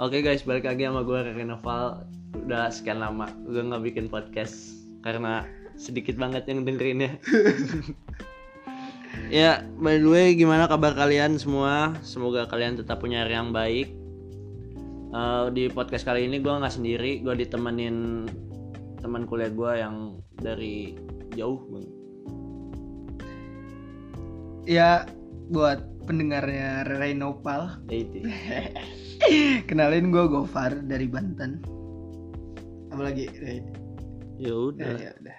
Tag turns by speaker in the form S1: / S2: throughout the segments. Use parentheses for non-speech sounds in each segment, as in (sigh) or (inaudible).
S1: Oke guys, balik lagi sama gue Rere Noval Udah sekian lama gue nggak bikin podcast Karena sedikit banget yang
S2: (laughs)
S1: dengerinnya Ya, by the way gimana kabar kalian semua? Semoga kalian tetap punya hari yang baik Eh, Di podcast kali ini gue nggak sendiri Gue ditemenin teman kuliah gue yang dari jauh banget
S2: Ya buat pendengarnya Rere Nopal (clears throat)
S1: Ya
S2: (laughs)
S1: itu.
S2: Kenalin gue Gofar dari Banten Apalagi Re?
S1: Ya
S2: Nah,
S1: udah
S2: ya udah.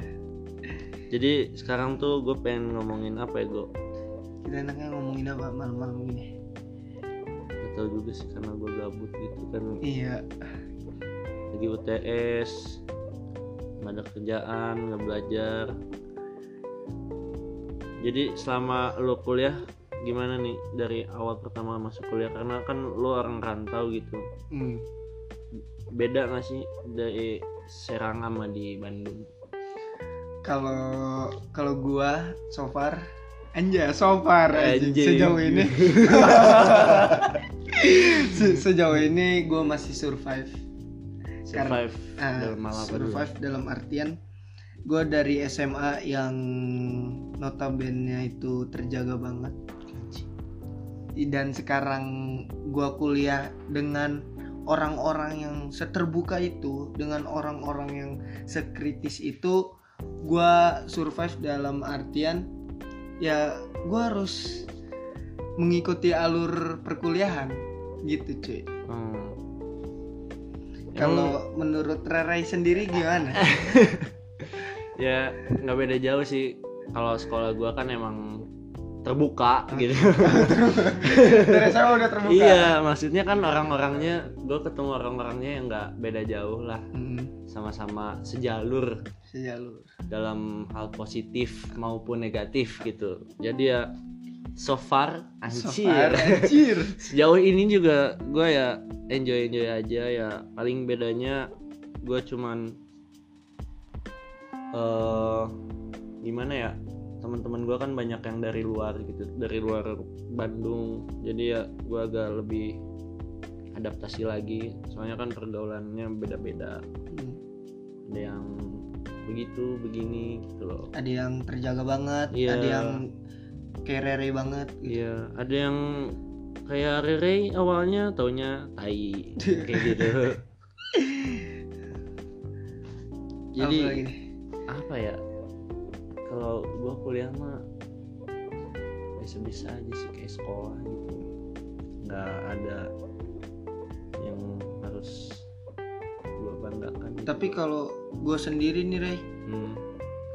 S1: Jadi sekarang tuh gue pengen ngomongin apa ya gue
S2: Kita enaknya ngomongin apa malam-malam gini
S1: Gak tau juga sih karena gue gabut gitu kan
S2: Iya
S1: lagi UTS nggak ada kerjaan nggak belajar jadi selama lo kuliah gimana nih dari awal pertama masuk kuliah karena kan lo orang rantau gitu
S2: Hmm.
S1: beda nggak sih dari Serang sama di Bandung
S2: Kalau kalau gua so far Anja so far anjing.
S1: Anjing.
S2: sejauh (laughs) ini Se- sejauh ini gue masih survive Karena-
S1: survive
S2: Ah,
S1: dalam hal apa dulu?
S2: survive dalam artian gue dari SMA yang notabene itu terjaga banget dan sekarang gue kuliah dengan orang-orang yang seterbuka itu dengan orang-orang yang sekritis itu gue survive dalam artian ya gue harus mengikuti alur perkuliahan gitu cuy
S1: Hmm. Emang-
S2: kalau menurut Rere sendiri gimana?
S1: ya nggak beda jauh sih kalau sekolah gua kan emang terbuka
S2: Ah.
S1: gitu
S2: Dari SMA udah terbuka.
S1: Iya, maksudnya kan orang-orangnya, gue ketemu orang-orangnya yang nggak beda jauh lah,
S2: Hmm, iya,
S1: sama-sama sejalur
S2: sejalur.
S1: dalam hal positif maupun negatif gitu. Jadi ya, so far, anjir.
S2: Sofar,
S1: (laughs)
S2: anjir.
S1: Sejauh ini juga gue ya enjoy enjoy aja ya. Paling bedanya gue cuman eh gimana ya teman-teman gue kan banyak yang dari luar gitu dari luar Bandung jadi ya gue agak lebih adaptasi lagi soalnya kan pergaulannya beda-beda
S2: Hmm,
S1: ada yang begitu begini gitu loh
S2: Ada yang terjaga banget,
S1: Iya.
S2: ada yang kayak Rere banget. gitu.
S1: Iya, ada yang kayak Rere awalnya taunya tai kayak
S2: (laughs)
S1: gitu. Jadi
S2: Apa lagi nih?
S1: apa ya? Kalau gua kuliah mah bisa-bisa aja sih kayak sekolah gitu. Nggak ada yang harus gua banggakan. gitu.
S2: Tapi kalau gue sendiri nih Rey,
S1: Hmm.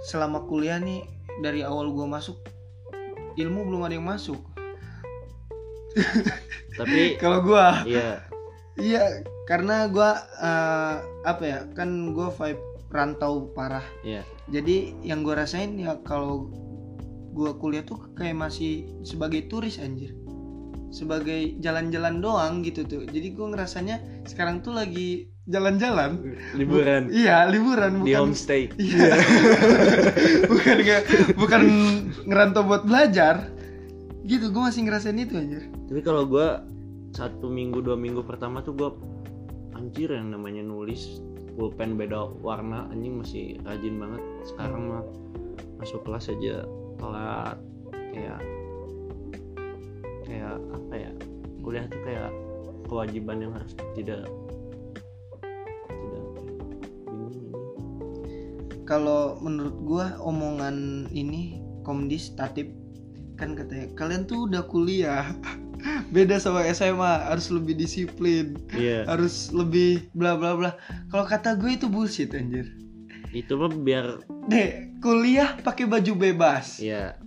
S2: selama kuliah nih dari awal gue masuk ilmu belum ada yang masuk. (laughs)
S1: tapi
S2: Kalau gue
S1: iya,
S2: Iya, karena gua eh, apa ya? Kan gua vibe rantau parah.
S1: Iya.
S2: Jadi yang gua rasain ya kalau gua kuliah tuh kayak masih sebagai turis anjir. Sebagai jalan-jalan doang gitu tuh. Jadi gua ngerasanya sekarang tuh lagi jalan-jalan.
S1: liburan
S2: Iya, liburan
S1: di
S2: bukan
S1: homestay.
S2: Iya. (laughs) bukan nge- bukan ngerantau buat belajar. Gitu, gua masih ngerasain itu anjir.
S1: tapi kalau gua satu minggu dua minggu pertama tuh gua anjir yang namanya nulis pulpen beda warna anjing masih rajin banget sekarang mah masuk kelas aja telat kayak kayak apa ya kuliah tuh kayak kewajiban yang harus tidak tidak apa ya, bingung ini
S2: kalau menurut gua omongan ini komdis tatip kan katanya kalian tuh udah kuliah (laughs) beda sama SMA harus lebih disiplin
S1: iya
S2: harus lebih bla bla bla kalau kata gue itu bullshit anjir
S1: itu mah biar
S2: deh kuliah pakai baju bebas
S1: ya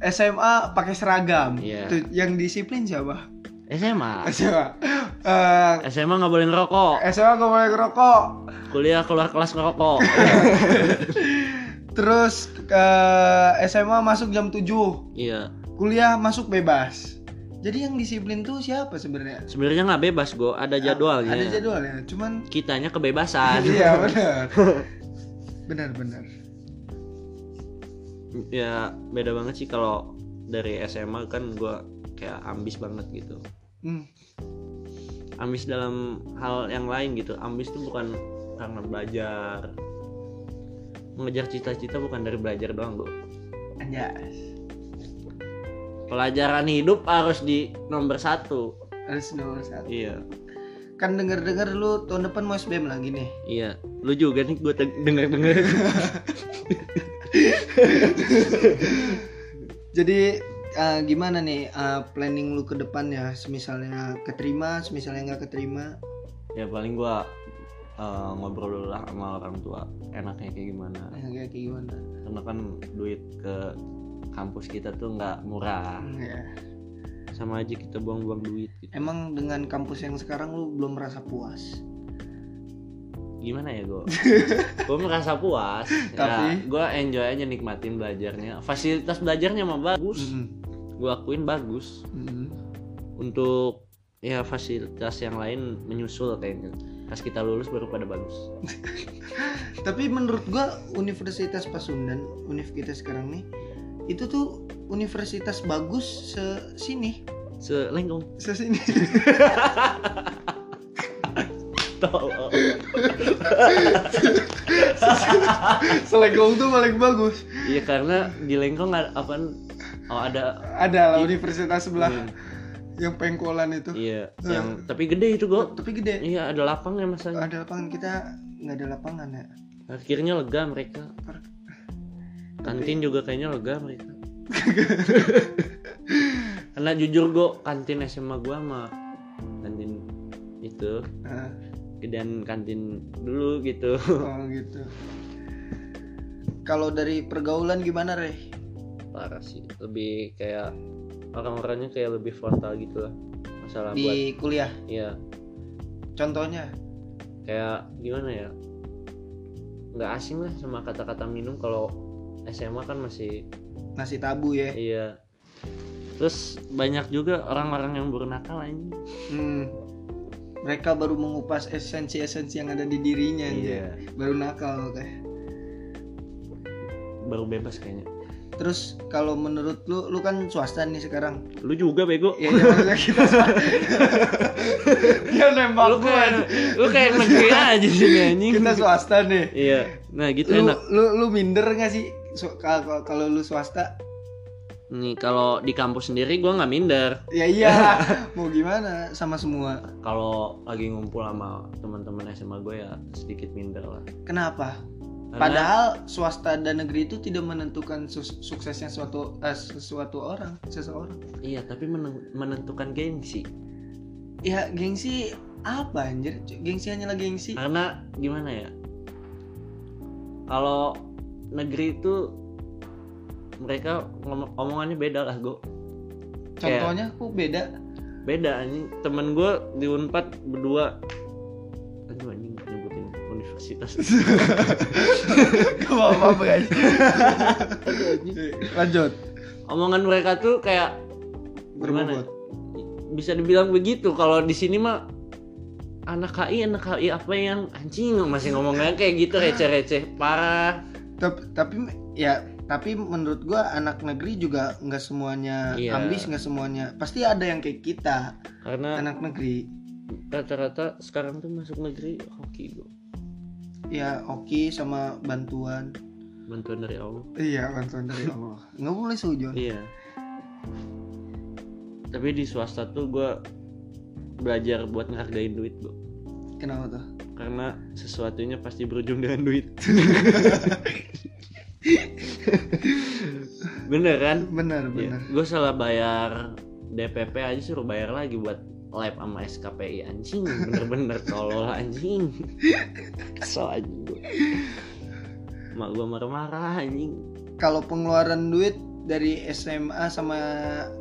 S2: SMA pakai seragam
S1: Iya.
S2: Tuh, yang disiplin siapa (laughs)
S1: SMA
S2: SMA Eh,
S1: SMA nggak boleh ngerokok
S2: SMA gak boleh ngerokok
S1: kuliah keluar kelas ngerokok
S2: terus eh, SMA masuk jam 7
S1: iya
S2: kuliah masuk bebas. Jadi yang disiplin tuh siapa sebenarnya?
S1: sebenarnya nggak bebas go Ah, ada jadwalnya
S2: Ada jadwalnya, cuman
S1: kitanya (laughs) kebebasan
S2: iya benar. benar benar.
S1: ya beda banget sih kalau dari SMA kan gua kayak ambis banget gitu
S2: Hmm,
S1: ambis dalam hal yang lain gitu ambis itu bukan karena belajar mengejar cita-cita bukan dari belajar doang bro
S2: anjas
S1: pelajaran hidup harus di nomor satu
S2: harus nomor satu
S1: iya
S2: kan denger dengar lu tahun depan mau SBM lagi nih
S1: iya lu juga nih gue denger denger
S2: jadi eh, gimana nih eh, planning lu ke depan ya semisalnya keterima semisalnya nggak keterima
S1: (laughs) ya paling gue ngobrol dulu lah sama orang tua enaknya kayak gimana
S2: eh, kayak gimana
S1: karena kan duit ke kampus kita tuh nggak murah
S2: Hmm, ya.
S1: sama aja kita buang-buang duit gitu.
S2: emang dengan kampus yang sekarang lu belum merasa puas
S1: gimana ya
S2: (laughs)
S1: gue gue merasa puas ya,
S2: Tapi?
S1: gue enjoy aja nikmatin belajarnya fasilitas belajarnya mah bagus
S2: Mm-mm.
S1: gue akuin bagus
S2: Mm-mm.
S1: untuk ya fasilitas yang lain menyusul kayaknya pas kita lulus baru pada bagus
S2: tapi menurut gua Universitas Pasundan univ kita sekarang nih itu tuh universitas bagus se sini
S1: selengkong (laughs)
S2: se sini (laughs)
S1: tolong
S2: Selegong tuh paling bagus
S1: iya karena di lengkong ada apaan oh ada
S2: ada lah universitas sebelah Nah.
S1: Hmm,
S2: yang pengkolan itu
S1: iya yang tapi gede itu gue
S2: tapi gede
S1: iya ada lapangnya masanya
S2: ada lapangan kita nggak ada lapangan (laughs) ya
S1: akhirnya lega mereka kantin juga kayaknya lega mereka karena jujur gue kantin SMA gue sama kantin itu
S2: Ah,
S1: dan kantin dulu gitu (laughs)
S2: oh gitu kalau dari pergaulan gimana Reh?
S1: parah sih lebih kayak orang-orangnya kayak lebih frontal gitu lah
S2: Nah,
S1: masalah buat
S2: di kuliah
S1: ya
S2: contohnya
S1: kayak gimana ya nggak asing lah sama kata-kata minum kalau SMA kan masih
S2: nasi tabu ya
S1: Iya. Terus banyak juga orang-orang yang bernakal anjing.
S2: Hmm. mereka baru mengupas esensi-esensi yang ada di dirinya
S1: Iya.
S2: anjir. baru nakal oke
S1: Baru bebas kayaknya.
S2: terus kalau menurut lu lu kan swasta nih sekarang
S1: Lu juga bego.
S2: ya ya maksudnya kita dia nembak
S1: lu
S2: gua,
S1: kayak lu kayak negeri aja sih Iya, anjing.
S2: kita swasta nih
S1: Iya. Nah, gitu
S2: lu,
S1: enak.
S2: lu lu minder gak sih Su- kal- kal- kalau lu swasta
S1: Nih kalau di kampus sendiri gua nggak minder.
S2: ya iya mau gimana sama semua
S1: Kalau lagi ngumpul sama teman-teman SMA gue ya sedikit minder lah.
S2: kenapa
S1: Karena-
S2: padahal swasta dan negeri itu tidak menentukan sus- suksesnya suatu eh, sesuatu orang seseorang
S1: iya, tapi meneng- menentukan gengsi.
S2: ya gengsi apa anjir C- gengsi hanyalah gengsi
S1: Karena gimana ya? Kalau negeri itu mereka ngom- omongannya beda lah, Go. kayak-
S2: contohnya kok beda
S1: beda anjing temen gue di unpad berdua aduh anjing nggak nyebutin universitas
S2: gak apa apa guys
S1: Aduh, anjing.
S2: lanjut
S1: omongan mereka tuh kayak ya?
S2: berbobot
S1: bisa dibilang begitu kalau di sini mah anak HI anak HI apa yang anjing masih ngomongnya kayak gitu receh-receh parah
S2: tapi, tapi ya tapi menurut gua anak negeri juga nggak semuanya
S1: Iya.
S2: ambis nggak semuanya pasti ada yang kayak kita
S1: karena
S2: anak negeri
S1: rata-rata sekarang tuh masuk negeri hoki gue
S2: ya oke sama bantuan
S1: bantuan dari Allah
S2: iya bantuan dari Allah nggak boleh seujon
S1: Iya. Tapi di swasta tuh gue belajar buat ngehargain duit gue.
S2: kenapa tuh
S1: Karena sesuatunya pasti berujung dengan duit. bener kan?
S2: benar benar
S1: Gue salah bayar DPP aja suruh bayar lagi buat lab sama SKPI anjing bener-bener tolol anjing kesel anjing gue mak gue marah-marah anjing
S2: kalau pengeluaran duit dari SMA sama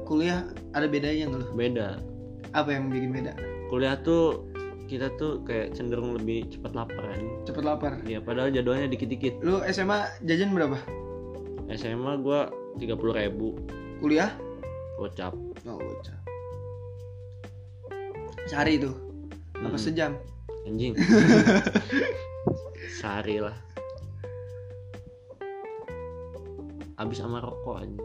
S2: kuliah ada bedanya nggak lu?
S1: beda
S2: apa yang bikin beda
S1: kuliah tuh kita tuh kayak cenderung lebih cepat lapar kan
S2: cepet lapar
S1: ya padahal jadwalnya dikit-dikit
S2: lu SMA jajan berapa
S1: SMA gua 30.000 ribu
S2: kuliah
S1: gocap
S2: nggak bocah sehari itu
S1: Hmm,
S2: apa sejam
S1: anjing sehari lah abis sama rokok aja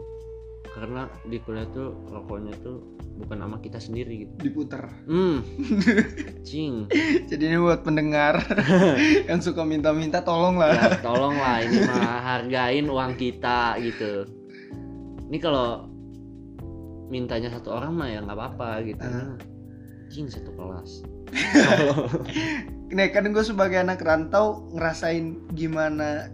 S1: karena di kuliah tuh rokoknya tuh bukan sama kita sendiri
S2: (laughs)
S1: gitu
S2: diputer
S1: hmm cing
S2: jadi ini buat pendengar yang suka minta-minta tolong lah
S1: ya tolonglah ini mah hargain uang kita gitu ini kalau mintanya satu orang mah ya nggak apa-apa gitu
S2: Ah.
S1: cing satu kelas
S2: Nah kan gue sebagai anak rantau ngerasain gimana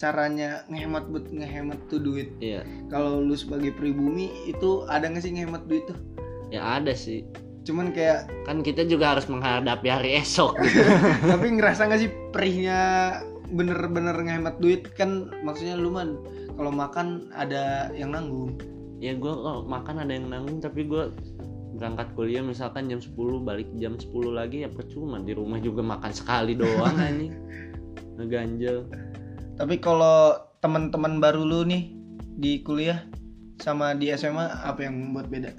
S2: caranya ngehemat buat ngehemat tuh duit.
S1: iya
S2: Kalau lu sebagai pribumi itu ada nggak sih ngehemat duit tuh?
S1: ya ada sih
S2: Cuman kayak (laughs)
S1: kan kita juga harus menghadapi hari esok gitu.
S2: tapi ngerasa nggak sih perihnya bener-bener ngehemat duit kan maksudnya lu mah kalau makan ada yang nanggung.
S1: ya gue kalau makan ada yang nanggung tapi gue berangkat kuliah misalkan jam 10 balik jam 10 lagi ya percuma di rumah juga makan sekali doang anjing ngeganjel
S2: Tapi kalau teman-teman baru lu nih di kuliah sama di SMA apa yang membuat beda?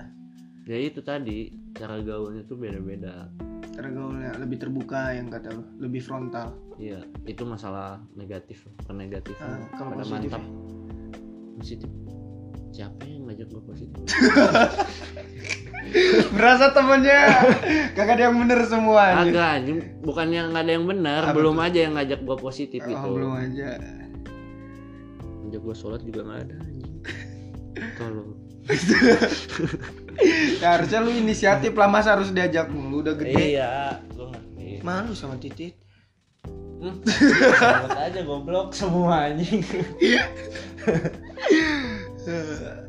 S1: ya itu tadi cara gaulnya tuh beda-beda
S2: Karena gaulnya lebih terbuka yang kata lu, lebih frontal. (laughs)
S1: iya itu masalah negatif pernegatif
S2: Ah, kalau
S1: pada
S2: positif
S1: mantap positif siapa yang ngajak gue positif
S2: Berasa temennya
S1: (laughs)
S2: kagak ada yang bener semua anjir.
S1: agak anjing bukannya nggak ada yang benar
S2: Apa
S1: belum aja yang ngajak gue positif
S2: Oh,
S1: itu
S2: belum aja.
S1: ngajak gue sholat juga nggak ada anjing tolong
S2: Ya, harusnya lu inisiatif lah masa harus diajak mulu udah gede.
S1: iya gue ngerti
S2: Malu sama titit.
S1: Selamat aja goblok semua anjing.
S2: Eh,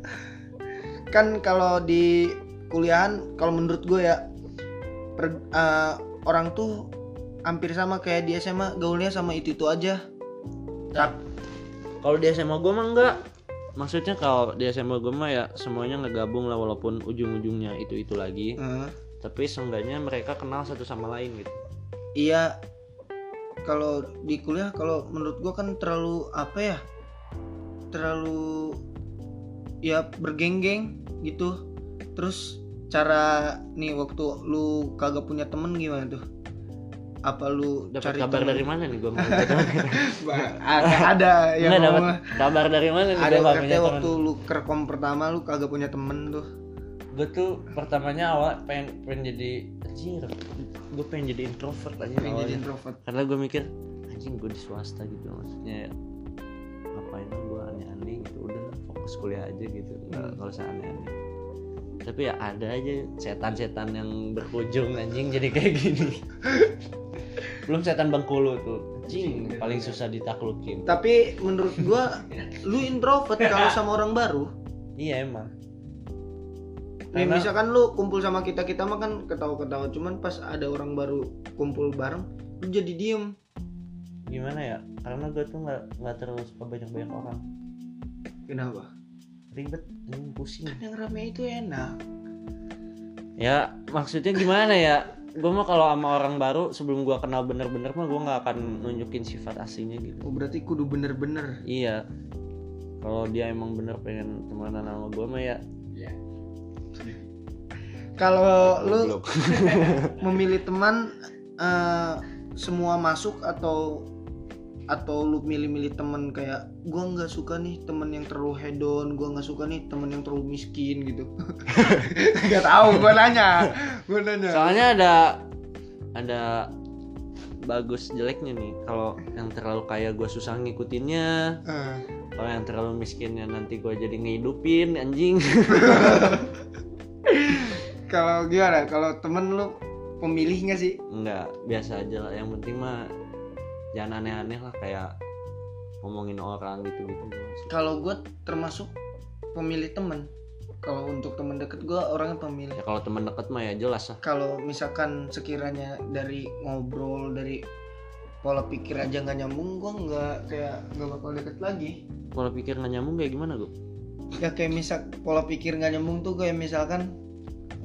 S2: Kan kalau di kuliahan kalau menurut gue ya per- eh, orang tuh hampir sama kayak di SMA gaulnya sama itu itu aja. Tapi
S1: Kalau di SMA gue mah enggak. Maksudnya kalau di SMA gue mah ya semuanya ngegabung lah walaupun ujung-ujungnya itu-itu lagi.
S2: Eh,
S1: Tapi seenggaknya mereka kenal satu sama lain gitu.
S2: iya kalau di kuliah kalau menurut gua kan terlalu apa ya terlalu ya bergenggeng gitu terus cara nih waktu lu kagak punya temen gimana tuh apa lu
S1: Dapat
S2: cari
S1: kabar
S2: temen?
S1: dari mana nih (laughs) gue?
S2: Ba- (laughs) ada, ah, ada yang
S1: Enggak dapat
S2: ngomong,
S1: kabar dari mana nih gua
S2: ada
S1: nggak
S2: katanya
S1: punya
S2: waktu lu kerkom pertama lu kagak punya temen tuh
S1: Gue tuh pertamanya awal pengen pengen jadi anjir. Gue pengen jadi introvert aja
S2: pengen jadi
S1: awalnya.
S2: introvert
S1: Karena gue mikir anjing gue di swasta gitu maksudnya ya, ngapain gue aneh-aneh gitu udah fokus kuliah aja gitu nggak
S2: Hmm.
S1: nggak usah aneh-aneh tapi ya ada aja setan-setan yang berujung anjing jadi kayak gini (laughs) belum setan bengkulu tuh anjing iya. paling susah ditaklukin
S2: tapi menurut gua lu (laughs) introvert kalau sama orang baru
S1: iya emang
S2: Nih
S1: Karena-
S2: misalkan lu kumpul sama kita kita mah kan ketawa-ketawa cuman pas ada orang baru kumpul bareng lu jadi diem
S1: gimana ya karena gue tuh nggak nggak terlalu suka banyak-banyak orang
S2: kenapa?
S1: ribet anjing pusing
S2: Kan yang rame itu enak.
S1: ya maksudnya gimana ya gue mah kalau sama orang baru sebelum gua kenal bener-bener mah gua nggak akan nunjukin sifat aslinya gitu
S2: Oh berarti kudu bener-bener.
S1: iya kalau dia emang bener pengen temenan sama gua mah ya
S2: Kalau lu
S1: goblok.
S2: memilih teman eh, semua masuk atau atau lu milih-milih teman kayak gua nggak suka nih temen yang terlalu hedon, gua nggak suka nih temen yang terlalu miskin gitu. Gak tahu, gua nanya, gua nanya.
S1: soalnya ada ada bagus jeleknya nih kalau yang terlalu kaya gua susah ngikutinnya
S2: Eh.
S1: kalau yang terlalu miskinnya nanti gua jadi ngehidupin anjing
S2: Kalau gimana? Kalau temen lu pemilih nggak sih?
S1: nggak biasa aja lah yang penting mah jangan aneh-aneh lah kayak ngomongin orang gitu gitu
S2: Kalau gue termasuk pemilih temen. Kalau untuk temen deket gue orangnya pemilih.
S1: ya kalau teman dekat mah ya jelas lah
S2: Kalau misalkan sekiranya dari ngobrol dari pola pikir aja nggak nyambung, gue nggak kayak nggak bakal deket lagi.
S1: pola pikir nggak nyambung kayak gimana gue
S2: Ya kayak misal pola pikir nggak nyambung tuh kayak misalkan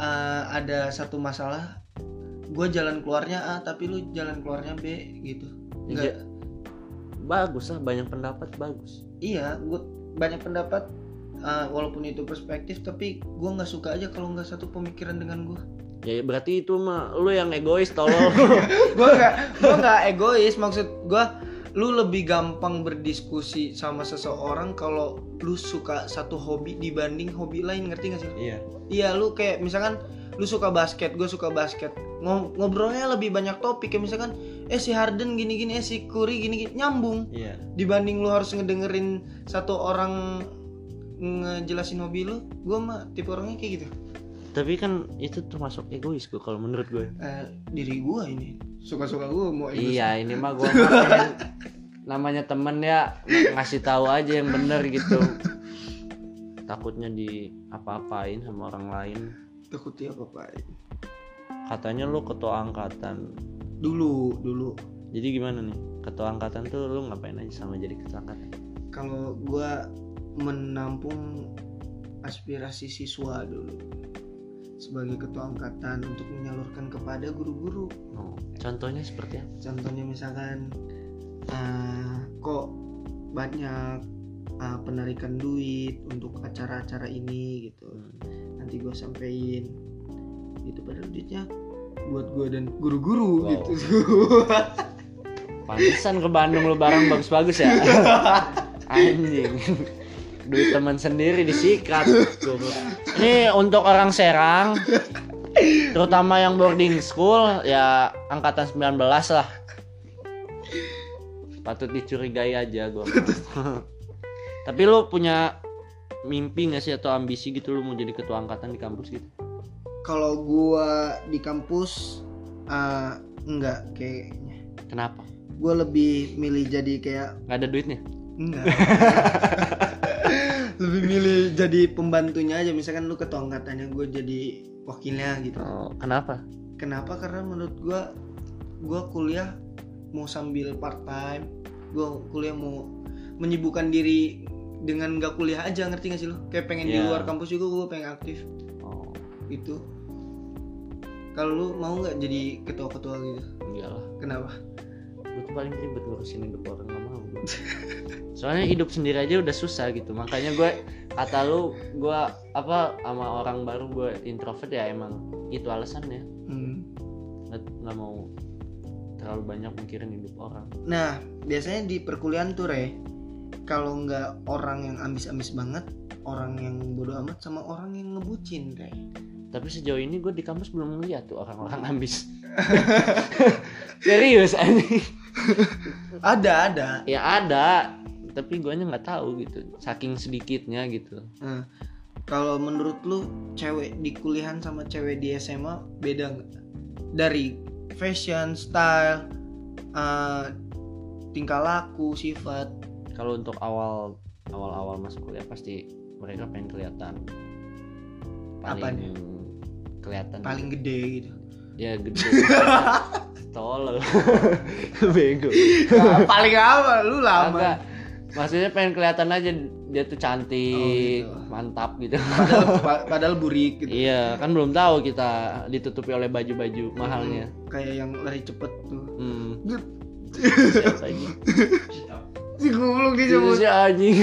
S2: eh, ada satu masalah, gue jalan keluarnya A tapi lu jalan keluarnya B gitu.
S1: Iya.
S2: Nggak-
S1: bagus lah banyak pendapat bagus
S2: iya gue banyak pendapat uh, walaupun itu perspektif tapi gue nggak suka aja kalau nggak satu pemikiran dengan gue
S1: ya berarti itu mah lu yang egois tolol
S2: gue nggak gue nggak egois maksud gue lu lebih gampang berdiskusi sama seseorang kalau lu suka satu hobi dibanding hobi lain ngerti gak sih?
S1: iya
S2: Iya lu kayak misalkan lu suka basket, gue suka basket. Ngo- Ngobrolnya lebih banyak topik kayak misalkan eh si Harden gini-gini, eh si Curry gini-gini nyambung
S1: iya
S2: dibanding lu harus ngedengerin satu orang ngejelasin hobi lu. Gue mah tipe orangnya kayak gitu.
S1: tapi kan itu termasuk egois gue kalau menurut gue
S2: Eh, diri gue ini suka-suka gue mau
S1: iya ini mah gue (laughs) namanya temen ya ngasih tahu aja yang bener gitu takutnya di apa-apain sama orang lain
S2: takutnya apa pak?
S1: katanya lu ketua angkatan
S2: Dulu dulu
S1: jadi gimana nih ketua angkatan tuh lu ngapain aja sama jadi ketua angkatan
S2: kalau gua menampung aspirasi siswa dulu sebagai ketua angkatan untuk menyalurkan kepada guru-guru
S1: Oh, contohnya seperti apa
S2: contohnya misalkan eh, kok banyak eh, penarikan duit untuk acara-acara ini gitu nanti gua sampein gitu padahal duitnya buat gua dan
S1: Wow.
S2: guru-guru gitu (laughs)
S1: pantesan ke Bandung lu barang bagus-bagus (laughs) ya anjing duit teman sendiri disikat ini untuk orang Serang terutama yang boarding school ya angkatan 19 lah patut dicurigai aja (laughs) gua tapi lu punya mimpi nggak sih atau ambisi gitu lu mau jadi ketua angkatan di kampus gitu
S2: kalau gua di kampus eh, enggak kayaknya
S1: kenapa
S2: gue lebih milih jadi kayak
S1: nggak ada duitnya
S2: enggak lebih milih jadi pembantunya aja misalkan lu ketua angkatannya gue jadi wakilnya gitu
S1: Oh, kenapa
S2: kenapa karena menurut gue gue kuliah mau sambil part time gue kuliah mau menyibukkan diri dengan gak kuliah aja ngerti gak sih lo kayak pengen di
S1: Iya.
S2: luar kampus juga gue pengen aktif
S1: oh
S2: gitu kalau lu mau nggak jadi ketua-ketua gitu
S1: enggak lah
S2: kenapa
S1: gue tuh paling ribet ngurusin hidup orang gak mau gua. (laughs) soalnya hidup sendiri aja udah susah gitu makanya gue kata lu gue apa sama orang baru gue introvert ya emang itu alasannya
S2: Hmm.
S1: nggak nggak mau terlalu banyak mikirin hidup orang
S2: Nah, biasanya di perkuliahan tuh, Re, kalau nggak orang yang ambis-ambis banget, orang yang bodoh amat sama orang yang ngebucin, Re.
S1: tapi sejauh ini gue di kampus belum ngeliat tuh orang-orang (laughs) ambis serius anjing
S2: Ada, ada.
S1: ya ada tapi gue nggak tahu gitu saking sedikitnya gitu
S2: Nah, kalau menurut lu cewek di kuliahan sama cewek di SMA beda nggak? Dari fashion, style, eh, tingkah laku, sifat.
S1: kalau untuk awal awal awal masuk kuliah pasti mereka pengen kelihatan paling
S2: Apanya?
S1: kelihatan
S2: paling gede
S1: (laughs)
S2: gitu.
S1: ya
S2: (laughs)
S1: gede tolol bego
S2: Nah, paling apa?
S1: Agak.
S2: Lu lama.
S1: maksudnya pengen kelihatan aja dia tuh cantik
S2: Oh, gitu.
S1: mantap gitu
S2: Padahal, pa- padahal burik gitu.
S1: iya kan belum tahu kita ditutupi oleh baju-baju mahalnya
S2: Hmm, Kayak yang lari cepet tuh.
S1: hmm.
S2: Gep.
S1: siapa ini
S2: (laughs) Si goblok dia
S1: Itu
S2: cuma
S1: si Iya, anjing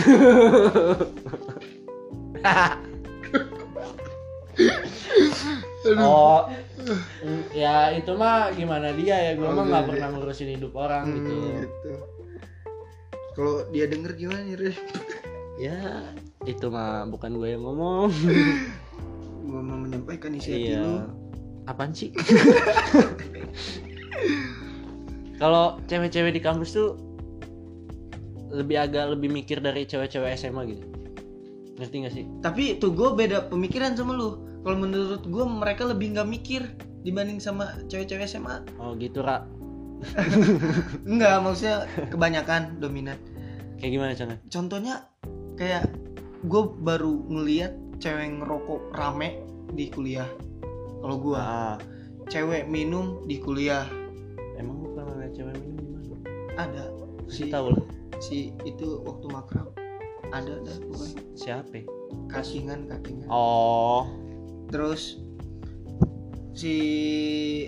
S1: oh mm, ya itu mah gimana dia ya gue
S2: Oh,
S1: mah nggak
S2: gitu.
S1: pernah ngurusin hidup orang
S2: Hmm,
S1: gitu
S2: gitu. Kalau dia denger gimana nih, Re?
S1: ya itu mah bukan gue yang ngomong
S2: Gua mau menyampaikan isi hati
S1: iya
S2: lu.
S1: apaan sih (laughs) kalau cewek-cewek di kampus tuh lebih agak lebih mikir dari cewek-cewek SMA gitu ngerti gak sih
S2: Tapi tuh gue beda pemikiran sama lu. Kalau menurut gue mereka lebih nggak mikir dibanding sama cewek-cewek
S1: (laughs)
S2: SMA.
S1: oh gitu ra
S2: Enggak, maksudnya kebanyakan dominan.
S1: kayak gimana contohnya
S2: Contohnya kayak gue baru ngeliat cewek ngerokok rame di kuliah. Kalau gue,
S1: Ah,
S2: cewek minum di kuliah
S1: emang lu pernah lihat cewek minum di mana?
S2: ada
S1: Kasih
S2: si
S1: tahu lah.
S2: si itu waktu makrab ada dah pokoknya.
S1: Siapa? ya?
S2: kakingan kakingan
S1: Oh.
S2: terus si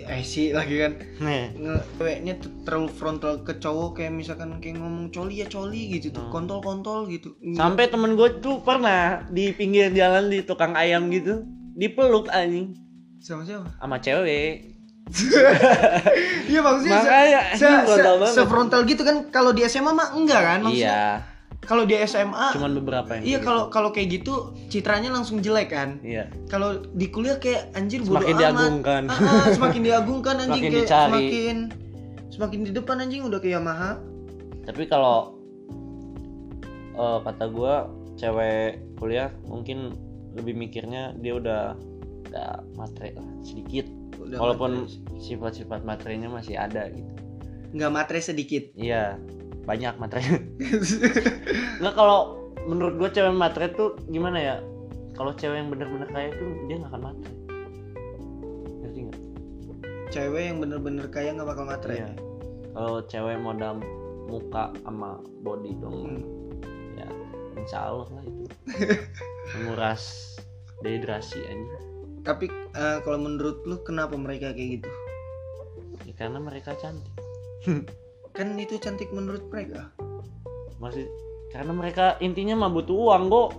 S2: eh si lagi kan
S1: Nih.
S2: Nge- ceweknya tuh terlalu frontal ke cowok kayak misalkan kayak ngomong coli ya coli gitu tuh
S1: Hmm.
S2: kontol kontol gitu Nge-
S1: Sampai temen gue tuh pernah di pinggir jalan di tukang ayam gitu dipeluk anjing (laughs)
S2: sama siapa
S1: sama cewek
S2: Iya maksudnya se-
S1: Makanya,
S2: se,
S1: ini frontal
S2: se-
S1: banget.
S2: sefrontal gitu kan kalau di SMA mah enggak kan maksudnya.
S1: iya
S2: Kalau di SMA
S1: cuman beberapa yang
S2: iya
S1: kayak
S2: kalau kalau kayak gitu citranya langsung jelek kan.
S1: gitu. iya
S2: Kalau di kuliah kayak anjir bodo
S1: semakin
S2: amat.
S1: diagungkan
S2: Ah, ah, semakin diagungkan anjing
S1: Semakin
S2: kayak
S1: dicari.
S2: semakin semakin di depan anjing udah kayak Yamaha.
S1: tapi kalau eh, kata gua cewek kuliah mungkin lebih mikirnya dia udah udah matre lah sedikit
S2: Udah
S1: walaupun
S2: matre.
S1: sifat-sifat materainya masih ada gitu
S2: nggak matre sedikit. (laughs)
S1: iya banyak materainya nggak kalau menurut gua cewek matre tuh gimana ya kalau cewek yang bener-bener kaya tuh dia nggak akan matre ngerti nggak
S2: Cewek yang bener-bener kaya nggak bakal matre.
S1: Iya. kalau cewek modal muka sama body dong
S2: Hmm.
S1: ya insya Allah lah itu menguras dehidrasi aja
S2: Tapi eh, kalau menurut lu kenapa mereka kayak gitu?
S1: Ya, karena mereka cantik
S2: Kan itu cantik menurut mereka.
S1: masih karena mereka intinya mah butuh uang kok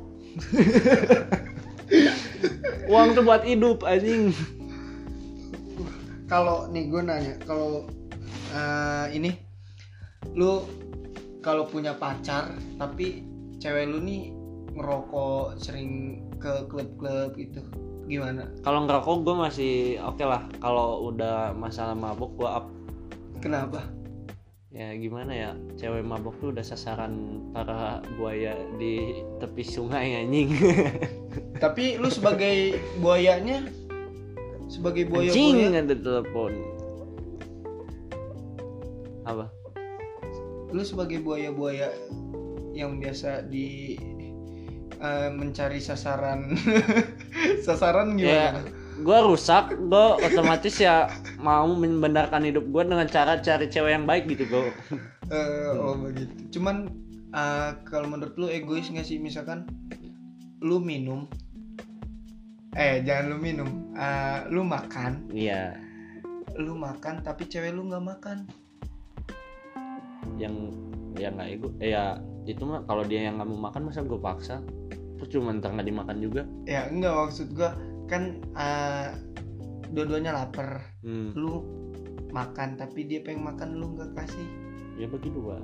S1: uang tuh buat hidup anjing
S2: Kalau nih gue nanya, kalau eh, ini lu kalau punya pacar tapi cewek lu nih merokok sering ke klub-klub gitu gimana?
S1: kalau ngerokok gue masih oke lah kalau udah masalah mabuk gue up
S2: Kenapa?
S1: ya gimana ya cewek mabuk tuh udah sasaran para buaya di tepi sungai anjing
S2: Tapi lu sebagai buayanya sebagai buaya
S1: anjing
S2: buaya
S1: ada telepon apa
S2: lu sebagai buaya-buaya yang biasa di eh, mencari sasaran (laughs) sasaran
S1: ya
S2: gimana?
S1: gue rusak gue otomatis ya mau membenarkan hidup gue dengan cara cari cewek yang baik gitu gue
S2: Eh, oh begitu. Cuman eh, kalau menurut lu egois nggak sih misalkan lu minum eh jangan lu minum Eh, lu makan
S1: iya
S2: lu makan tapi cewek lu nggak makan
S1: yang yang nggak ego eh, ya itu mah kalau dia yang nggak mau makan masa gue paksa terus cuma ntar nggak dimakan juga
S2: ya enggak maksud gua kan eh, dua-duanya lapar
S1: hmm.
S2: lu makan tapi dia pengen makan lu nggak kasih
S1: ya bagi dua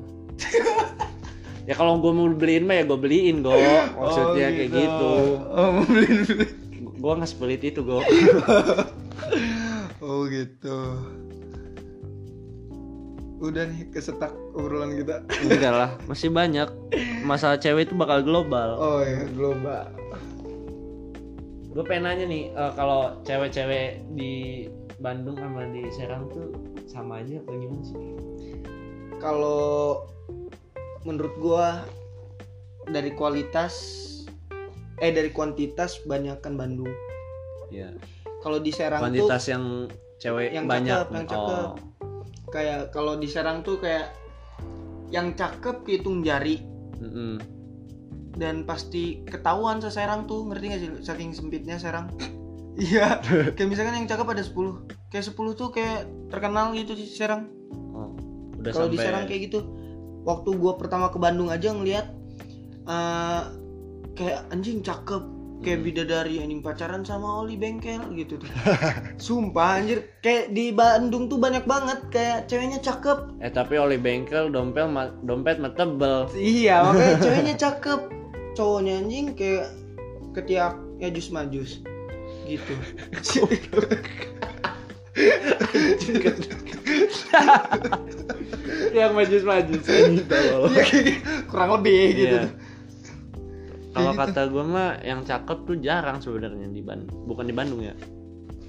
S1: ya kalau gue mau beliin mah ya gue beliin gue maksudnya kayak gitu
S2: oh gitu.
S1: gue nggak sepelit itu gue
S2: oh gitu udah nih kesetak obrolan kita
S1: enggak lah masih banyak masalah cewek itu bakal global
S2: oh ya global
S1: gue pengen nanya nih eh, kalau cewek-cewek di Bandung sama di Serang tuh sama aja atau gimana sih?
S2: kalau menurut gua dari kualitas eh dari kuantitas banyakkan Bandung
S1: Iya.
S2: kalau di Serang
S1: Kuantitas yang cewek
S2: yang
S1: banyak.
S2: cakep, yang cakep.
S1: Oh,
S2: tuh kayak kalau di Serang tuh kayak yang cakep dihitung jari
S1: mm-mm.
S2: dan pasti ketahuan seserang tuh ngerti gak sih lu? saking sempitnya serang (laughs)
S1: (laughs)
S2: iya kayak misalkan yang cakep ada 10 kayak 10 tuh kayak terkenal gitu sih serang
S1: Oh, udah
S2: kalau di
S1: sampai.
S2: serang kayak gitu waktu gua pertama ke Bandung aja ngeliat eh kayak anjing cakep kayak
S1: Hmm.
S2: bidadari anjing pacaran sama Oli bengkel gitu
S1: (laughs)
S2: tuh sumpah anjir kayak di Bandung tuh banyak banget kayak ceweknya cakep
S1: Eh tapi oleh bengkel dompet ma- dompet mah tebel.
S2: Iya, (laughs) makanya ceweknya cakep. Cowoknya anjing kayak ketiak ya jus majus gitu.
S1: Iya. yang majus-majus (laughs) gitu loh.
S2: Iya, kayak- (laughs) kurang lebih gitu.
S1: Iya. Kalau
S2: Kayak gitu.
S1: kata gue mah yang cakep tuh jarang sebenarnya di Bandung. Bukan di Bandung ya.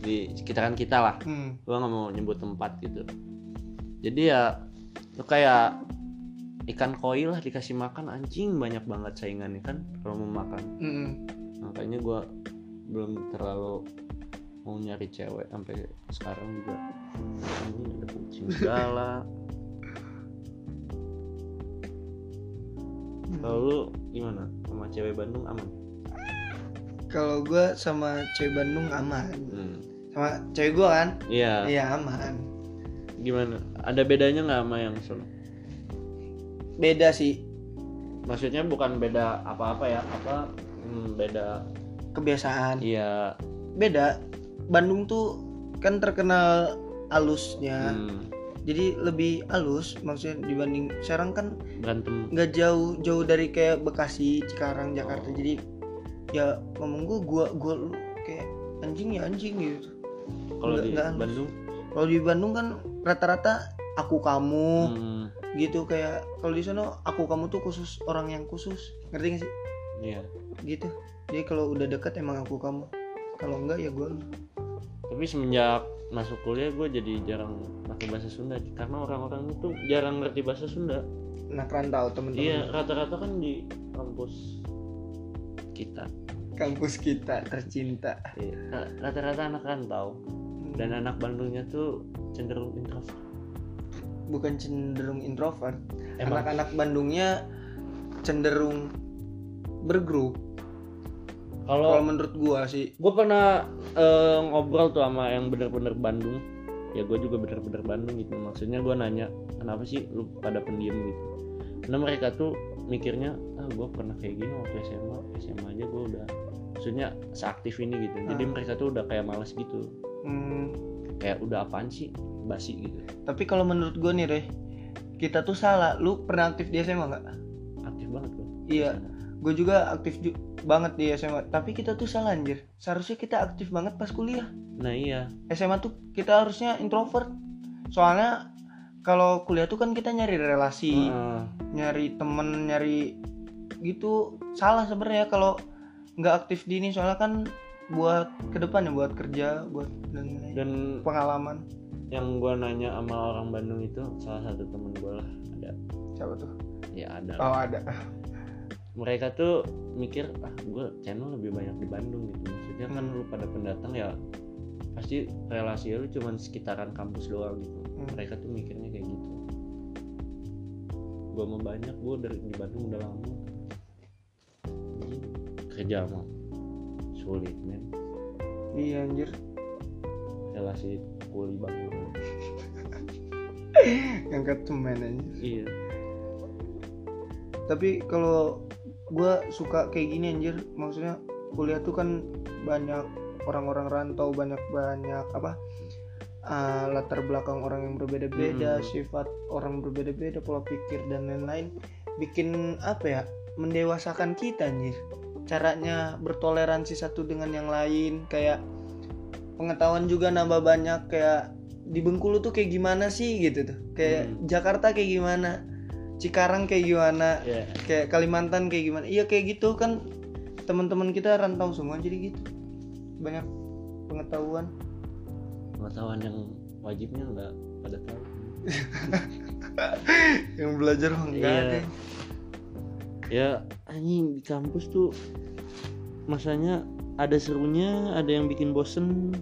S1: Di sekitaran kita lah.
S2: Hmm.
S1: gua nggak mau nyebut tempat gitu jadi ya lu kayak ikan koi lah dikasih makan anjing banyak banget saingannya kan kalau mau makan
S2: Mm-mm.
S1: makanya gua belum terlalu mau nyari cewek sampai sekarang juga anjing ada kucing segala kalau lu gimana sama cewek Bandung aman
S2: Kalau gua sama cewek Bandung aman.
S1: Hmm.
S2: Sama cewek gua kan?
S1: iya
S2: Iya, aman.
S1: gimana ada bedanya nggak sama yang solo
S2: Beda sih
S1: maksudnya bukan beda apa-apa ya apa hmm, beda
S2: kebiasaan.
S1: iya
S2: Beda. Bandung tuh kan terkenal alusnya
S1: Hmm,
S2: jadi lebih alus maksudnya dibanding sekarang kan
S1: berantem
S2: nggak jauh jauh dari kayak Bekasi Cikarang Jakarta
S1: Oh.
S2: jadi ya ngomong gua gua gua lu kayak anjing ya anjing gitu
S1: kalau di
S2: Nggak- nggak-
S1: Bandung
S2: kalau di Bandung kan rata-rata aku kamu
S1: hmm,
S2: gitu kayak kalau di sana aku kamu tuh khusus orang yang khusus ngerti gak sih
S1: iya
S2: gitu jadi kalau udah deket emang aku kamu kalau enggak ya gua lu.
S1: tapi semenjak masuk kuliah gue jadi jarang pakai bahasa Sunda karena orang-orang itu jarang ngerti bahasa Sunda
S2: anak rantau
S1: iya
S2: Nah, temen-temen
S1: rata-rata kan di kampus kita
S2: kampus kita tercinta
S1: Iya. Ra- rata-rata anak rantau dan anak Bandungnya tuh cenderung introvert
S2: bukan cenderung introvert
S1: emang
S2: anak-anak Bandungnya cenderung bergrup
S1: kalau
S2: kalau menurut gua sih
S1: gue pernah eh, ngobrol tuh sama yang bener-bener Bandung ya gue juga bener-bener Bandung gitu maksudnya gue nanya kenapa sih lu pada pendiam gitu karena mereka tuh mikirnya ah gue pernah kayak gini waktu SMA SMA aja gue udah maksudnya seaktif ini gitu jadi
S2: Ah.
S1: mereka tuh udah kayak males gitu
S2: Hmm,
S1: kayak udah apaan sih basi gitu
S2: tapi kalau menurut gua nih Reh kita tuh salah lu pernah aktif di SMA nggak
S1: aktif banget gue
S2: iya gue juga aktif ju- banget di SMA tapi kita tuh salah anjir seharusnya kita aktif banget pas kuliah
S1: nah iya
S2: SMA tuh kita harusnya introvert soalnya kalau kuliah tuh kan kita nyari relasi
S1: Heeh.
S2: nyari temen nyari gitu salah sebenarnya kalau nggak aktif di ini soalnya kan buat ke depan ya buat kerja buat dan lain-lain.
S1: dan
S2: pengalaman
S1: yang gue nanya sama orang Bandung itu salah satu temen gue lah ada
S2: siapa tuh
S1: ya ada lah.
S2: oh ada
S1: mereka tuh mikir ah gue channel lebih banyak di Bandung gitu maksudnya kan lu pada pendatang ya pasti relasi lu cuman sekitaran kampus doang gitu
S2: Hmm.
S1: mereka tuh mikirnya kayak gitu gue mau banyak gue dari di Bandung udah lama Anjing, kerja mah sulit men
S2: iya anjir
S1: relasi kuli Bandung
S2: Eh, yang ketemen anjir
S1: iya
S2: tapi kalau gue suka kayak gini anjir maksudnya kuliah tuh kan banyak orang-orang rantau banyak-banyak apa uh, latar belakang orang yang berbeda-beda
S1: Hmm.
S2: sifat orang berbeda-beda pola pikir dan lain-lain bikin apa ya mendewasakan kita anjir caranya bertoleransi satu dengan yang lain kayak pengetahuan juga nambah banyak kayak di Bengkulu tuh kayak gimana sih gitu tuh kayak
S1: Hmm.
S2: Jakarta kayak gimana Cikarang kayak gimana
S1: ya
S2: kayak Kalimantan kayak gimana iya kayak gitu kan teman-teman kita rantau semua jadi gitu banyak pengetahuan
S1: pengetahuan yang wajibnya nggak pada tahu
S2: yang belajar mah enggak
S1: Iya.
S2: deh.
S1: ya anjing di kampus tuh masanya ada serunya ada yang bikin bosen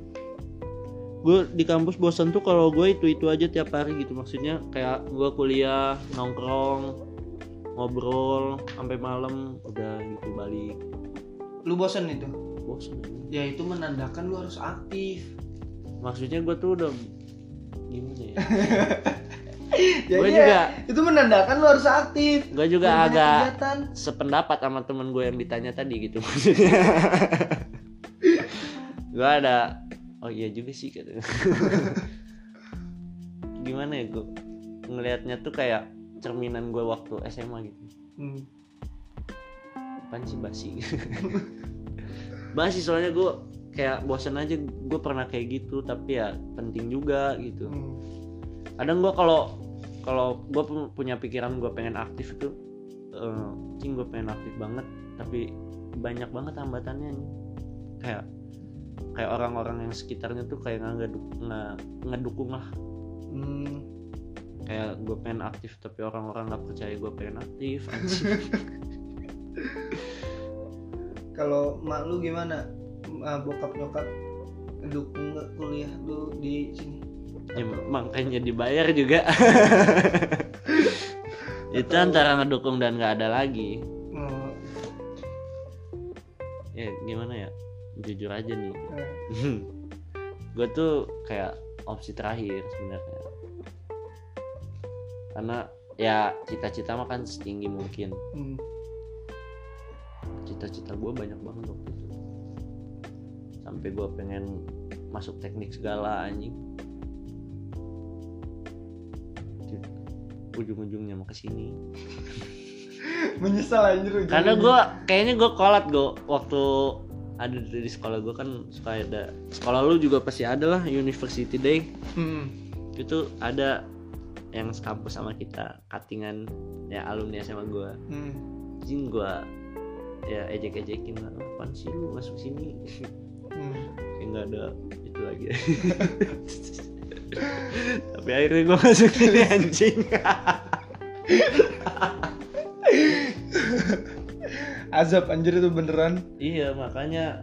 S1: gue di kampus bosen tuh kalau gue itu itu aja tiap hari gitu maksudnya kayak gue kuliah nongkrong ngobrol sampai malam udah gitu balik
S2: lu bosan itu
S1: bosen anjing.
S2: ya itu menandakan lu harus aktif
S1: maksudnya gue tuh udah gimana ya
S2: (laughs) ya
S1: gue
S2: iya,
S1: juga
S2: itu menandakan lu harus aktif
S1: gue juga
S2: Lu banyak
S1: agak
S2: kegiatan
S1: sependapat sama temen gue yang ditanya tadi gitu maksudnya gue ada oh iya juga sih katanya (laughs) gimana ya gue ngelihatnya tuh kayak cerminan gue waktu SMA gitu
S2: Hmm.
S1: apaan sih basi (laughs) basi soalnya gue kayak bosan aja gue pernah kayak gitu tapi ya penting juga gitu
S2: Hmm.
S1: kadang gue kalau kalau gue punya pikiran gue pengen aktif itu eh, cing gue pengen aktif banget tapi banyak banget hambatannya nih kayak kayak orang-orang yang sekitarnya tuh kayak nggak ngedu- nggak ngedukung lah
S2: Hmm.
S1: kayak gue pengen aktif tapi orang-orang nggak percaya gue pengen aktif anjing.
S2: kalau mak lu gimana Ma- bokap nyokap dukung nggak kuliah lu di sini
S1: ya, makanya dibayar juga itu
S2: Atau-
S1: antara ngedukung dan nggak ada lagi
S2: Hmm.
S1: ya gimana ya jujur aja nih
S2: Eh,
S1: gue Hmm. tuh kayak opsi terakhir sebenarnya karena ya cita-cita mah kan setinggi mungkin
S2: hmm.
S1: cita-cita gue banyak banget waktu itu sampai gue pengen masuk teknik segala anjing anjir ujung-ujungnya mau kesini
S2: (laughs) menyesal anjir
S1: karena gue kayaknya gue kolat gue waktu ada di di sekolah gue kan suka ada sekolah lu juga pasti ada lah University Day
S2: hmm.
S1: itu ada yang sekampus sama kita katingan ya alumni sama gue
S2: hmm.
S1: jin gue ya ejek-ejekin lah apaan sih lu masuk sini (laughs)
S2: hmm.
S1: kayak nggak ada itu lagi (laughs) tapi akhirnya gue masuk sini anjing (laughs)
S2: azab anjir itu beneran
S1: iya makanya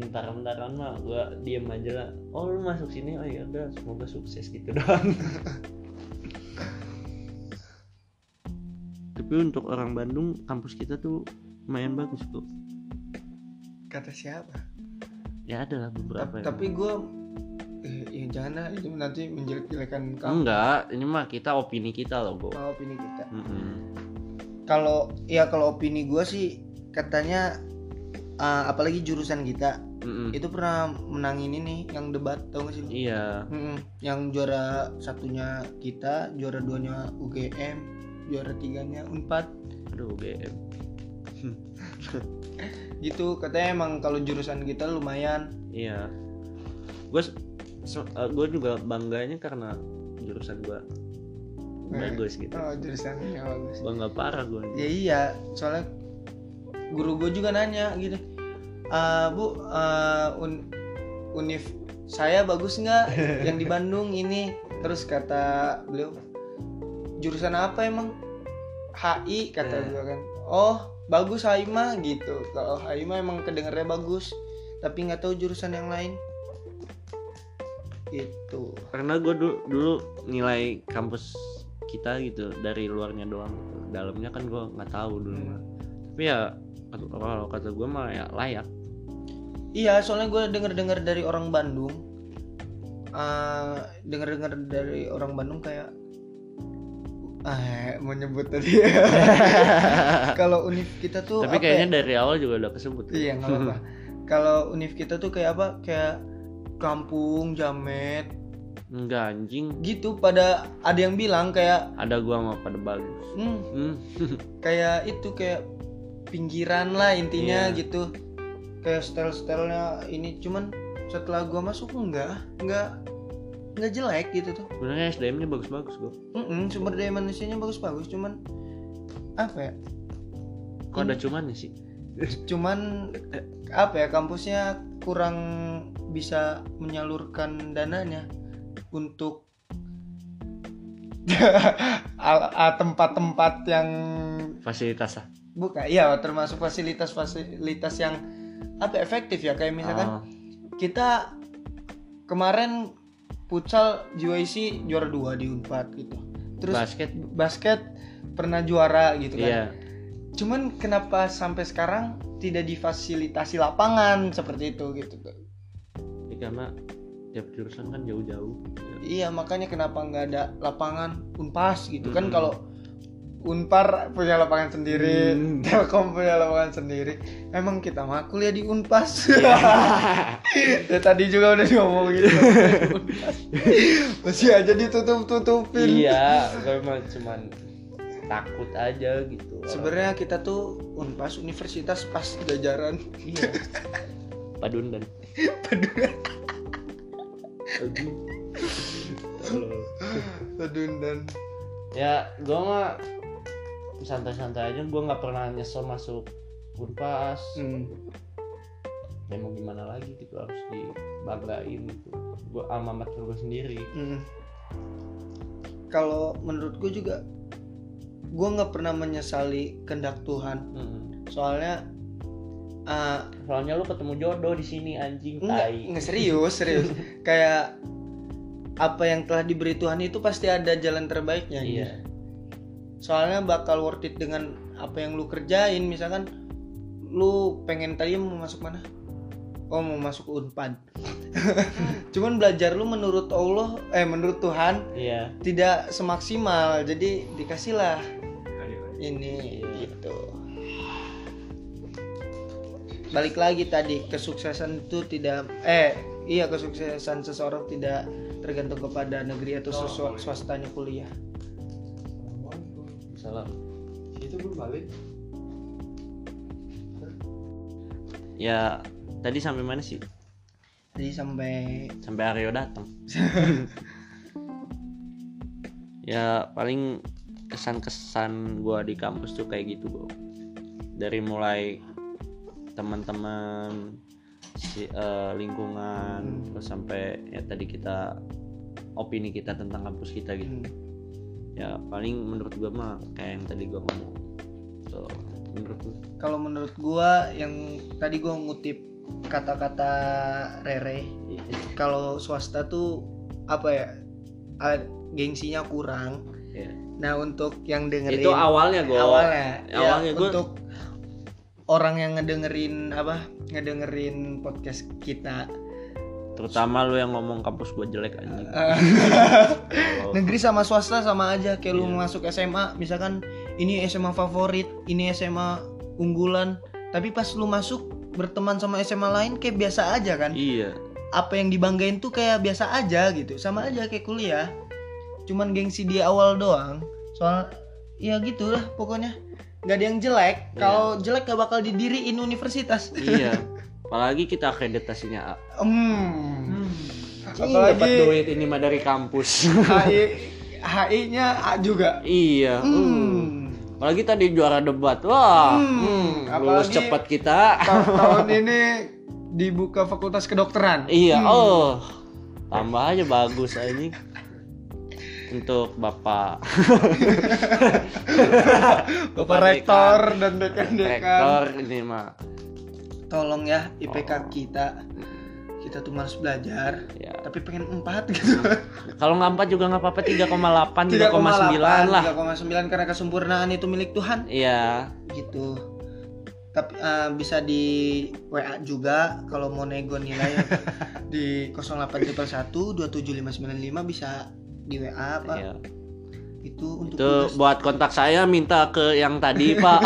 S1: entar entaran mah gue diem aja lah oh lu masuk sini oh ya udah semoga sukses gitu (laughs) doang tapi untuk orang Bandung kampus kita tuh lumayan bagus tuh
S2: kata siapa
S1: ya ada lah beberapa
S2: Ta-
S1: yang-
S2: tapi gue eh, ya jangan lah itu nanti menjelek-jelekan kamu
S1: enggak ini mah kita opini kita loh gue
S2: Kalau opini kita kalau ya kalau opini gue sih katanya eh, apalagi jurusan kita itu pernah menangin ini yang debat tau gak sih lu?
S1: iya
S2: Mm-mm. yang juara satunya kita, juara duanya UGM, juara tiganya Unpad.
S1: aduh GM
S2: Gitu katanya emang kalau jurusan kita lumayan.
S1: Iya. Gue gue eh, juga bangganya karena jurusan gue bagus gitu.
S2: Oh, jurusannya bagus.
S1: Bangga parah
S2: Ya
S1: gue.
S2: iya, soalnya guru gue juga nanya gitu. "Ah, bu, ah, un- univ saya bagus nggak yang di Bandung ini? Terus kata beliau, jurusan apa emang? HI kata
S1: Eh.
S2: gua kan. Oh, bagus HI mah gitu. Kalau HI mah emang kedengarannya bagus, tapi nggak tahu jurusan yang lain. Gitu. Itu.
S1: Karena gue dulu, nilai kampus kita gitu dari luarnya doang. Gitu. Dalamnya kan gue nggak tahu dulu. mah. Tapi ya kata- kalau kata gue mah ya
S2: (laughs)
S1: layak.
S2: Iya, soalnya gue denger-dengar dari orang Bandung. eh denger-dengar dari orang Bandung kayak ah mau nyebut tadi. (laughs) Kalau univ kita tuh
S1: Tapi
S2: apa
S1: kayaknya
S2: ya?
S1: dari awal juga udah kesebut.
S2: (laughs) Iya, nggak apa-apa. Kalau univ kita tuh kayak apa? Kayak kampung, jamet,
S1: Enggak anjing.
S2: gitu pada ada yang bilang kayak
S1: Ada gue sama pada bagus.
S2: hmm,
S1: Hmm.
S2: kayak itu kayak pinggiran lah intinya
S1: Iya.
S2: gitu. Kayak style-stylenya ini cuman setelah gua masuk enggak, enggak enggak jelek gitu tuh.
S1: Sebenarnya SDM-nya bagus-bagus gue.
S2: Mm-mm, sumber daya manusianya bagus-bagus cuman apa ya
S1: Kok ada
S2: Hmm.
S1: cuman ya sih?
S2: cuman apa ya kampusnya kurang bisa menyalurkan dananya untuk (laughs) al- a- tempat-tempat yang
S1: Fasilitas ah. lah.
S2: buka ya termasuk fasilitas-fasilitas yang apa ya, efektif ya kayak misalkan
S1: Ah.
S2: kita kemarin futsal JYC juara dua di Unpad gitu terus
S1: basket.
S2: basket pernah juara gitu kan
S1: Iya.
S2: cuman kenapa sampai sekarang tidak difasilitasi lapangan seperti itu gitu tuh.
S1: Ya, karena tiap jurusan kan jauh-jauh.
S2: iya makanya kenapa nggak ada lapangan unpas gitu kan
S1: Mm-mm.
S2: kalau unpar punya lapangan sendiri
S1: Hmm.
S2: telkom punya lapangan sendiri emang kita mah kuliah di unpas
S1: Iya.
S2: (laughs) ya, tadi juga udah diomong
S1: (laughs)
S2: gitu Unpas. masih aja ditutup tutupin
S1: iya, gue emang cuman takut aja gitu. Orang-
S2: sebenarnya kita tuh unpas universitas pas jajaran
S1: iya. Padundan. Aduh. Tolol.
S2: Sedundan
S1: ya, gue mah santai-santai aja, gue nggak pernah nyesel masuk Unpas.
S2: hmm.
S1: Ya mau gimana lagi gitu harus dibanggain gitu. Gue alma mater gue sendiri.
S2: Mm. Kalau menurut gue juga, gue nggak pernah menyesali kehendak Tuhan. Hmm.
S1: Mm.
S2: Soalnya ah,
S1: Soalnya lu ketemu jodoh di sini anjing
S2: nggak
S1: tai.
S2: nggak serius,
S1: (laughs)
S2: serius. Kayak apa yang telah diberi Tuhan itu pasti ada jalan terbaiknya.
S1: Iya.
S2: anjir. Soalnya bakal worth it dengan apa yang lu kerjain. Misalkan lu pengen tadi mau masuk mana? Oh mau masuk Unpad. (laughs) Cuman belajar lu menurut Allah, eh menurut Tuhan
S1: Iya.
S2: tidak semaksimal jadi dikasihlah ini
S1: Iya.
S2: gitu balik lagi tadi kesuksesan itu tidak eh
S1: Oh,
S2: iya kesuksesan seseorang tidak tergantung kepada negeri atau sesua- swastanya kuliah
S1: Waalaikumsalam.
S3: Itu belum balik.
S1: Ya tadi sampai mana sih?
S2: jadi sampai
S1: Sampai Aryo
S2: (laughs)
S1: datang. ya paling kesan-kesan gua di kampus tuh kayak gitu bro. Dari mulai teman-teman si eh, lingkungan
S2: Hmm.
S1: terus sampai ya tadi kita opini kita tentang kampus kita gitu.
S2: hmm,
S1: ya paling menurut gua mah kayak yang tadi gua ngomong so menurut gua
S2: kalau menurut gua yang tadi gua ngutip kata-kata Rere kalau swasta tuh apa ya a- gengsinya kurang
S1: Iya.
S2: nah untuk yang dengerin
S1: itu awalnya gua
S2: awalnya, ya,
S1: awalnya gua-
S2: untuk orang yang ngedengerin apa ngedengerin podcast kita
S1: terutama lu yang ngomong kampus gua jelek anjing
S2: (laughs) Eh,
S1: Kalau-
S2: negeri sama swasta sama aja kayak lu
S1: Iya.
S2: masuk SMA misalkan ini SMA favorit ini SMA unggulan tapi pas lu masuk berteman sama SMA lain kayak biasa aja kan
S1: iya
S2: apa yang dibanggain tuh kayak biasa aja gitu sama aja kayak kuliah cuman gengsi di awal doang soal ya gitulah pokoknya nggak ada yang jelek kalau jelek gak bakal didiriin universitas
S1: iya apalagi kita akreditasinya A.
S2: hmm
S1: Cing,
S2: Apalagi-
S1: dapat duit ini mah dari kampus (laughs)
S2: HI HI nya A juga
S1: iya uh.
S2: hmm.
S1: apalagi tadi juara debat wah
S2: Hmm,
S1: hmm, lulus
S2: apalagi-
S1: cepat kita (laughs)
S2: Ta- tahun ini dibuka fakultas kedokteran
S1: Iya,
S2: Hmm.
S1: oh. Tambah aja bagus anjing. Untuk Bapak
S2: (laughs) bapak rektor dan dekan dekan
S1: Rektor Oh. ini mah
S2: tolong ya IPK kita kita tuh harus belajar
S1: ya.
S2: tapi pengen empat gitu
S1: Kalau nggak empat juga nggak apa-apa 3,8 3,9
S2: 3,8
S1: lah.
S2: 3,9 karena kesempurnaan itu milik Tuhan
S1: Iya,
S2: gitu tapi eh, bisa di WA juga kalau mau nego nilai
S1: (laughs)
S2: di 0811 27595 bisa di WA Pak
S1: iya.
S2: itu untuk
S1: Itu
S2: tugas.
S1: buat kontak saya minta ke yang tadi,
S2: (laughs)
S1: Pak.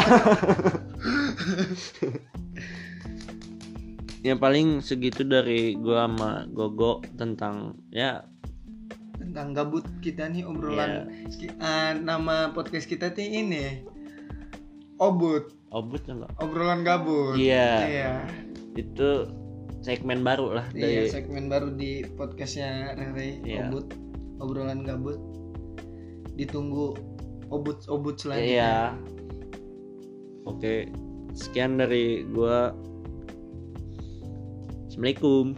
S1: ya paling segitu dari gua sama Gogo tentang ya
S2: tentang gabut kita nih obrolan
S1: Iya.
S2: Ki- eh, nama podcast kita tuh ini obut
S1: obut enggak?
S2: obrolan gabut
S1: Iya,
S2: iya
S1: itu segmen baru lah dari
S2: Iya, segmen baru di podcastnya Rere
S1: Iya.
S2: Obut obrolan gabut ditunggu obut-obut selanjutnya
S1: Iya. Oke, sekian dari gua. Assalamualaikum.